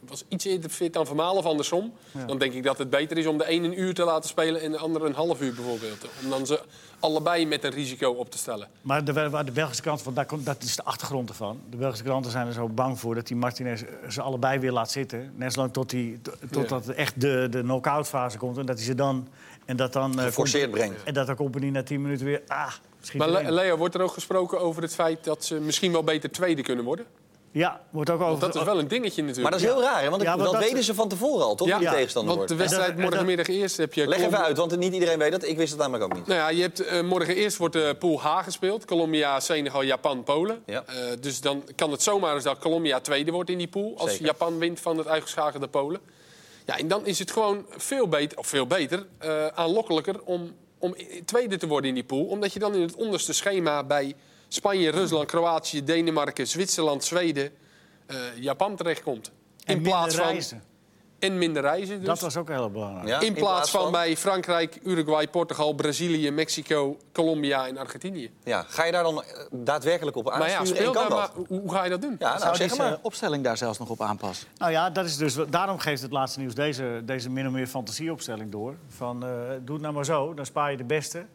S3: was iets eerder fit dan Vermaal of andersom. Dan denk ik dat het beter is om de een een uur te laten spelen en de ander een half uur bijvoorbeeld. Om dan ze allebei met een risico op te stellen.
S2: Maar de, waar de Belgische krant, want daar komt, dat is de achtergrond ervan. De Belgische kranten zijn er zo bang voor dat die Martinez ze allebei weer laat zitten. Net zolang tot die, to- totdat echt de, de knock-out fase komt. En dat hij ze dan. En dat dan. eh,
S1: Geforceerd
S2: Company-
S1: brengt.
S2: En dat de compagnie na 10 minuten weer. Ah, misschien.
S3: Maar Le- Leo, wordt er ook gesproken over het feit dat ze misschien wel beter tweede kunnen worden?
S2: ja, wordt ook over.
S3: Want dat is wel een dingetje natuurlijk.
S1: Maar dat is heel raar, hè? want
S2: Ja,
S1: dat-
S2: maar
S1: dat,
S2: dat-
S1: weten ze van tevoren al, toch?
S3: Ja,
S1: Wie de
S2: ja,
S1: tegenstander
S3: Want de
S1: wordt.
S3: wedstrijd
S2: En dat- en
S3: morgenmiddag eerst heb je...
S1: Leg even
S3: Colombia-
S1: uit, want niet iedereen weet dat. Ik wist het namelijk ook niet.
S3: Nou ja, je hebt eh, morgen eerst wordt de pool H gespeeld. Colombia, Senegal, Japan, Polen.
S1: Ja.
S3: Eh, dus dan kan het zomaar eens dat Colombia tweede wordt in die pool. Als
S1: Zeker.
S3: Japan wint van het uitgeschakelde Polen. Ja, en dan is het gewoon veel beter, of veel beter, eh, aanlokkelijker om, om i- tweede te worden in die pool. Omdat je dan in het onderste schema bij Spanje, Rusland, Kroatië, Denemarken, Zwitserland, Zweden, eh, Japan terechtkomt.
S2: en
S3: in
S2: minder
S3: plaats van.
S2: reizen.
S3: En minder reizen. Dus.
S2: Dat was ook heel belangrijk.
S1: Ja,
S3: in plaats van bij Frankrijk, Uruguay, Portugal, Brazilië, Mexico, Colombia en Argentinië.
S1: Ja, ga je daar dan eh, daadwerkelijk op
S3: Maar ja,
S1: aansturen en
S3: speel
S1: kan
S3: daar
S1: dat?
S3: maar. Hoe hoe ga je dat doen?
S1: Ja, nou,
S4: Zou
S1: zeg
S4: deze
S1: maar.
S4: opstelling daar zelfs nog op aanpassen?
S2: Nou ja, dat is dus, daarom geeft het laatste nieuws deze, deze min of meer fantasieopstelling door. Van, eh, doe het nou maar zo, dan spaar je de beste.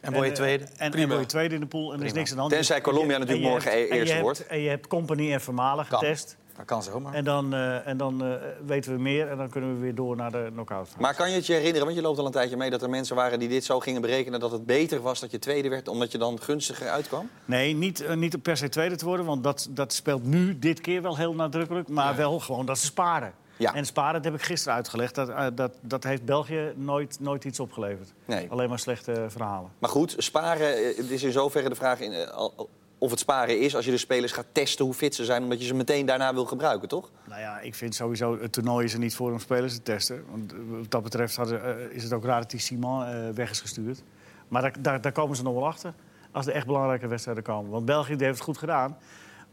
S4: En word je
S2: eh,
S4: tweede.
S2: En, en word je tweede in de pool en er is niks aan de hand. Dus-
S1: Tenzij Colombia
S2: En je-
S1: natuurlijk
S2: en je
S1: morgen
S2: hebt-
S1: e-
S2: en je
S1: eerste
S2: hebt-
S1: wordt.
S2: En je hebt Company en Vermalen
S1: Kan.
S2: getest.
S4: Dat kan zomaar.
S2: En dan, eh, en dan eh, weten we meer en dan kunnen we weer door naar de knock-out.
S1: Maar kan je het je herinneren, want je loopt al een tijdje mee... dat er mensen waren die dit zo gingen berekenen... dat het beter was dat je tweede werd, omdat je dan gunstiger uitkwam?
S2: Nee, niet, eh, niet per se tweede te worden, want dat, dat speelt nu dit keer wel heel nadrukkelijk. Maar wel gewoon dat ze sparen.
S5: Ja.
S2: En Spa, dat heb ik gisteren uitgelegd, dat, eh, dat, dat heeft België nooit, nooit iets opgeleverd.
S1: Nee.
S2: Alleen maar slechte eh, verhalen.
S1: Maar goed, sparen eh, het is in zoverre de vraag in, eh, al- al- of het sparen is als je de spelers gaat testen hoe fit ze zijn, omdat je ze meteen daarna wil gebruiken, toch?
S2: Nou ja, ik vind sowieso, het toernooi is er niet voor om spelers te testen. Want eh, wat dat betreft hadden, eh, is het ook raar dat die Simon eh, weg is gestuurd. Maar daar, daar, daar komen ze nog wel achter, als er echt belangrijke wedstrijden komen. Want België die heeft het goed gedaan,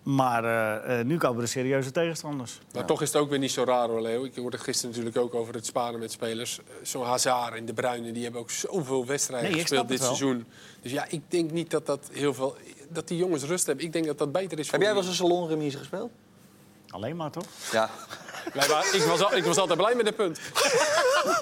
S2: maar eh, eh, nu komen de serieuze tegenstanders.
S3: Maar toch is het ook weer niet zo raar hoor, Leo. Ik hoorde het gisteren natuurlijk ook over het sparen met spelers. Eh, Zo'n Hazard en De Bruyne, die hebben ook zoveel wedstrijden
S2: Nee, ik
S3: gespeeld
S2: snap het
S3: dit
S2: wel.
S3: seizoen. Dus ja, ik denk niet dat dat heel veel... Dat die jongens rust hebben. Ik denk dat dat beter is voor
S1: Heb jij
S3: die
S1: wel eens een salonremise gespeeld?
S2: Alleen maar toch?
S1: Ja.
S3: Wij waren- ik, was al- ik was altijd blij met dat punt.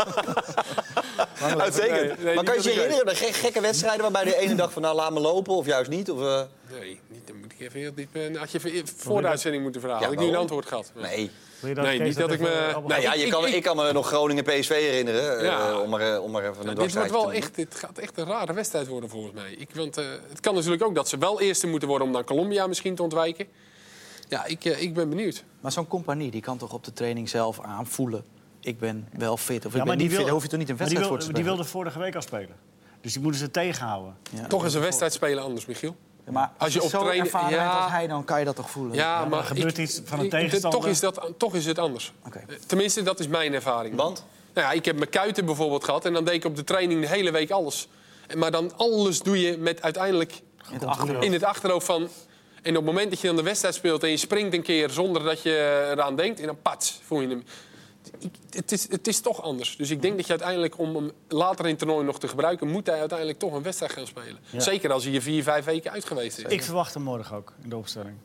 S1: <laughs> Uitstekend.
S3: Nee, nee,
S1: maar kan je
S3: niet dat
S1: je
S3: ik
S1: herinneren, de ge- gekke wedstrijden waarbij de ene dag van nou laat me lopen of juist niet? Of, eh,
S3: Nee, niet, dan moet ik even heel diep... eh, Had je even voor de uitzending moeten vragen.
S1: Ja,
S3: had ik nu een
S1: waarom?
S3: antwoord gehad.
S1: nee.
S2: Wil je
S3: Nee,
S2: Kees
S3: niet dat ik
S2: even,
S3: me-
S2: eh,
S1: Nou ja,
S3: ik-
S1: je
S3: ik-
S1: kan,
S3: ik-
S1: ik kan me nog Groningen PSV herinneren. eh,
S3: Ja.
S1: om, er, om er even een
S3: dit wordt
S1: dwarslijntje
S3: wel
S1: te doen.
S3: echt, dit gaat echt een rare wedstrijd worden volgens mij. Ik, want eh, het kan natuurlijk ook dat ze wel eerste moeten worden om dan Colombia misschien te ontwijken. Ja, ik, eh, ik ben benieuwd.
S4: Maar zo'n compagnie die kan toch op de training zelf aanvoelen... ik ben wel fit of ik ben
S2: die
S4: niet fit. Daar hoef je toch niet een
S2: maar die
S4: wedstrijd voor
S2: wil-
S4: te
S2: Die
S4: spelen?
S2: wilde vorige week al spelen. Dus die moeten ze tegenhouden.
S4: Ja.
S3: Toch is een wedstrijd spelen anders, Michiel.
S4: Maar
S3: Als je op
S4: zo
S3: training-
S4: ervaren
S3: ja.
S4: bent als hij, dan kan je dat toch voelen?
S3: Ja,
S2: maar gebeurt iets van een
S3: ik-
S2: tegenstander?
S3: Toch is, dat, toch is het anders.
S4: Oké.
S3: Eh, Tenminste, dat is mijn ervaring.
S1: Want?
S3: Nou ja, ik heb mijn kuiten bijvoorbeeld gehad en dan deed ik op de training de hele week alles. En- Maar dan alles doe je met uiteindelijk
S4: In het achterhoofd.
S3: in het achterhoofd van... En op het moment dat je dan de wedstrijd speelt en je springt een keer zonder dat je eraan denkt... en dan pats, voel je hem. Ik- het, is, het is toch anders. Dus ik denk dat je uiteindelijk, om hem later in het toernooi nog te gebruiken... moet hij uiteindelijk toch een wedstrijd gaan spelen.
S2: Ja.
S3: Zeker als hij je vier, vijf weken uit geweest is.
S2: Ik verwacht hem morgen ook in de opstelling.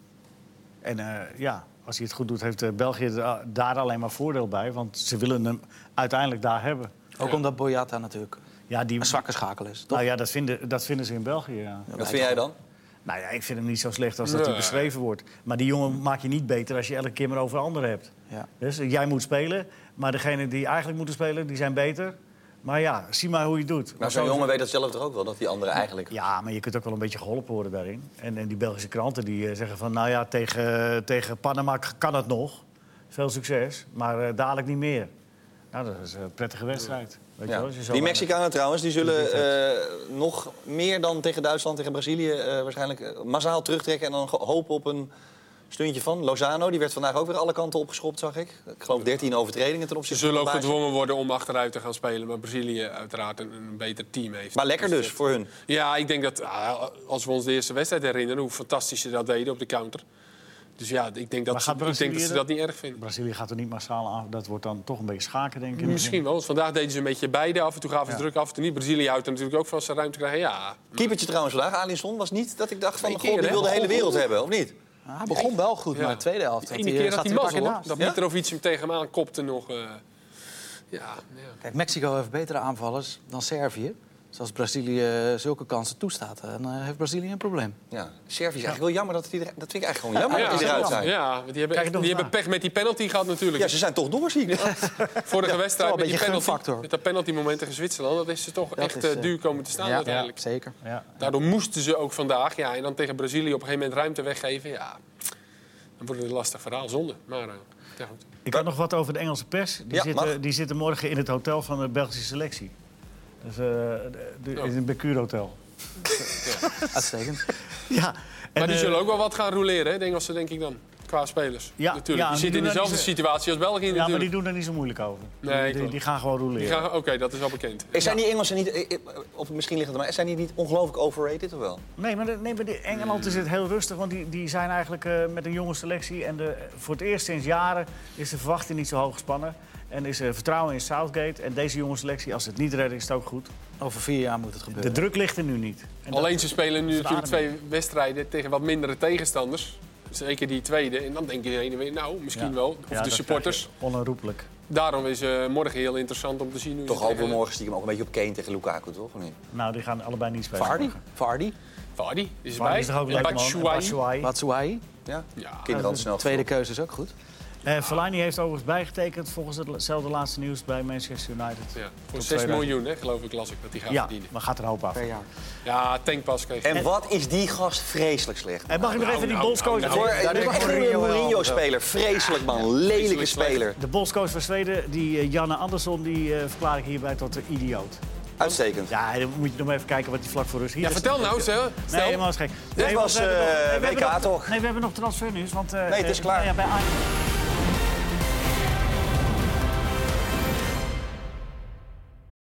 S2: En eh, ja, als hij het goed doet, heeft eh, België da- daar alleen maar voordeel bij. Want ze willen hem uiteindelijk daar hebben.
S4: Ook omdat Boyata natuurlijk
S2: Ja, die...
S4: een zwakke schakel is. Toch?
S2: Nou ja, dat vinden, dat vinden ze in België. Ja.
S1: Wat vind jij dan?
S2: Nou ja, ik vind hem niet zo slecht als dat hij
S3: Nee.
S2: beschreven wordt. Maar die jongen maak je niet beter als je elke keer maar over anderen hebt.
S4: Ja.
S2: Dus eh, jij moet spelen, maar degenen die eigenlijk moeten spelen, die zijn beter. Maar ja, zie maar hoe je het doet.
S1: Maar zo'n jongen weet dat zelf toch ook wel, dat die andere eigenlijk...
S2: Ja, maar je kunt ook wel een beetje geholpen worden daarin. En, en die Belgische kranten die eh, zeggen van... nou ja, tegen, tegen Panama k- kan het nog. Veel succes, maar eh, dadelijk niet meer. Nou, dat is een prettige wedstrijd. Weet je
S1: Ja.
S2: wel, als je zo
S1: Die
S2: weinig-
S1: Mexicanen trouwens, die zullen eh, nog meer dan tegen Duitsland, tegen Brazilië... eh, waarschijnlijk eh, massaal terugtrekken en dan ge- hopen op een stuntje van. Lozano, die werd vandaag ook weer alle kanten opgeschopt, zag ik. Ik geloof 13 overtredingen ten
S3: Ze
S1: opzichte
S3: zullen ook
S1: van Bayern.
S3: gedwongen worden om achteruit te gaan spelen. Maar Brazilië uiteraard een, een beter team heeft.
S1: Maar lekker dus, voor hun.
S3: Ja, ik denk dat ah, als we ons de eerste wedstrijd herinneren... hoe fantastisch ze dat deden op de counter. Dus ja, ik denk dat,
S2: Maar
S3: ze,
S2: gaat
S3: ik denk dat
S2: Brazilië
S3: ze
S2: dat-
S3: dat niet erg vinden.
S2: Brazilië gaat er niet massaal aan. Dat wordt dan toch een beetje schaken, denk ik.
S3: Misschien wel, want vandaag deden ze een beetje beide. Af en toe gaven ze
S2: Ja.
S3: druk, af en toe niet. Brazilië houdt er natuurlijk ook van zijn ruimte krijgen. Ja,
S1: Keepertje trouwens vandaag, Alisson, was niet dat ik dacht van...
S3: Twee
S1: God,
S3: keer,
S1: die
S3: hè? Oh.
S1: wil de hele
S3: Goh,
S1: wereld hebben, of niet?
S4: Ah, hij begon wel goed,
S3: Ja.
S4: maar de tweede helft. eh,
S3: de ene keer had hij
S4: een paar
S3: mazzel,
S4: keer
S3: hoor.
S4: naast.
S3: Dat
S1: Ja?
S3: Mitrovic hem tegen hem aankopte nog. eh, ja, ja.
S4: Kijk, Mexico heeft betere aanvallers dan Servië. Dus als Brazilië zulke kansen toestaat, dan eh, heeft Brazilië een probleem.
S1: Ja, Servië is eigenlijk wel jammer dat die er- Dat vind ik eigenlijk gewoon jammer
S3: <laughs> Ja,
S1: dat die eruit
S3: ja,
S1: zijn.
S3: ja, want die hebben,
S2: Kijk
S3: echt-
S2: nog
S3: die
S2: na.
S3: hebben pech met die penalty gehad natuurlijk.
S1: Ja, ze zijn toch door, zie ik.
S3: Vorige wedstrijd
S4: wel
S3: met
S4: een
S3: die
S4: beetje
S3: penalty,
S4: gunfactor.
S3: met dat penaltymomenten tegen Zwitserland, dat is ze toch
S4: Dat
S3: echt
S4: is,
S3: eh,
S4: eh,
S3: duur komen te staan uiteindelijk.
S4: zeker.
S2: Ja.
S3: Daardoor moesten ze ook vandaag, ja, en dan tegen Brazilië op een gegeven moment ruimte weggeven. Ja, dan wordt het een lastig verhaal, zonde. Maar eh, ja, goed.
S2: Ik had nog wat over de Engelse pers. Die,
S1: Ja, mag.
S2: zitten, die zitten morgen in het hotel van de Belgische selectie. Dus, eh, de- de-
S3: Oh.
S2: In het Becuurhotel.
S4: Uitstekend.
S3: <laughs>
S2: Ja. En,
S3: maar die
S2: eh,
S3: zullen ook wel wat gaan roleren, hè, de Engelsen, denk ik dan. Qua spelers.
S2: Ja, ja,
S3: natuurlijk.
S2: maar die
S3: die zitten in
S2: doen
S3: dezelfde
S2: dat niet-
S3: situatie als België.
S2: ja, maar die
S3: natuurlijk.
S2: doen er niet zo moeilijk over.
S3: Nee,
S2: Die- die,
S3: klopt.
S2: die gaan gewoon roleren.
S3: Die gaan- Oké, dat is al bekend.
S1: Is Zijn die Engelsen niet, eh, eh, of misschien ligt het maar, zijn die niet ongelooflijk overrated of wel?
S2: Nee, maar, de- nee, maar de Engeland is het heel rustig. Want die, die zijn eigenlijk eh, met een jonge selectie. En de, voor het eerst sinds jaren is de verwachting niet zo hoog gespannen. En is er vertrouwen in Southgate. En deze jonge selectie, als ze het niet redden, is het ook goed.
S4: Over vier jaar moet het
S2: De
S4: gebeuren.
S2: druk ligt er nu niet. En dat-
S3: Alleen ze spelen nu
S2: is
S3: natuurlijk
S2: ademing.
S3: twee wedstrijden tegen wat mindere tegenstanders. Zeker die tweede. En dan denk je de ene weer, nou, misschien
S2: Ja.
S3: wel. Of
S2: Ja,
S3: de
S2: dat
S3: supporters.
S2: krijg je Onherroepelijk.
S3: Daarom is eh, morgen heel interessant om te zien hoe
S1: Toch
S3: ze
S1: hopen we
S3: tegen-
S1: morgen stiekem ook een beetje op Kane tegen Lukaku, toch? Of niet?
S2: Nou, die gaan allebei niet spelen.
S4: Vardy, Vardy,
S3: Vardy is
S2: Vardy
S3: erbij.
S2: is toch ook
S3: En
S2: leuk, man. En
S3: Batshuayi.
S2: Batshuayi.
S4: Batshuayi.
S1: Ja?
S3: Ja.
S1: Kinderen altijd snel.
S4: Tweede keuze is ook goed.
S2: Eh Fellaini heeft overigens bijgetekend volgens hetzelfde laatste nieuws bij Manchester United.
S3: Ja, voor 6
S2: 2000.
S3: miljoen, hè, geloof ik, las ik dat die gaat
S2: Ja,
S3: verdienen.
S2: maar gaat er een hoop af. Eh,
S4: per jaar.
S3: Ja, tankpas kreeg
S1: En wat is die gast vreselijk slecht.
S2: En mag ik nog even die
S3: nou,
S2: bondscoach...
S3: nou,
S1: Hoor,
S3: daar
S1: ik ben
S3: ligt
S1: echt een
S4: Mourinho wel
S1: Mourinho-speler. Vreselijk, man. Lelijke
S3: vreselijk slecht.
S1: speler.
S2: De bondscoach van Zweden, die eh, Janne Andersson, die eh, verklaar ik hierbij tot de idioot.
S1: Uitstekend.
S2: Ja, dan moet je nog maar even kijken wat die vlak voor rust hier
S3: Ja,
S2: is.
S3: vertel nou, stel.
S2: Nee,
S3: stel.
S2: helemaal is gek.
S1: Dit
S2: Nee,
S1: was,
S2: want we hebben
S1: eh,
S2: nog- we hebben
S1: WK
S2: nog-
S1: toch?
S2: Nee, we hebben nog transfernieuws. Want, eh,
S1: Nee, het is
S2: eh,
S1: klaar.
S2: nou ja, bij Ajax-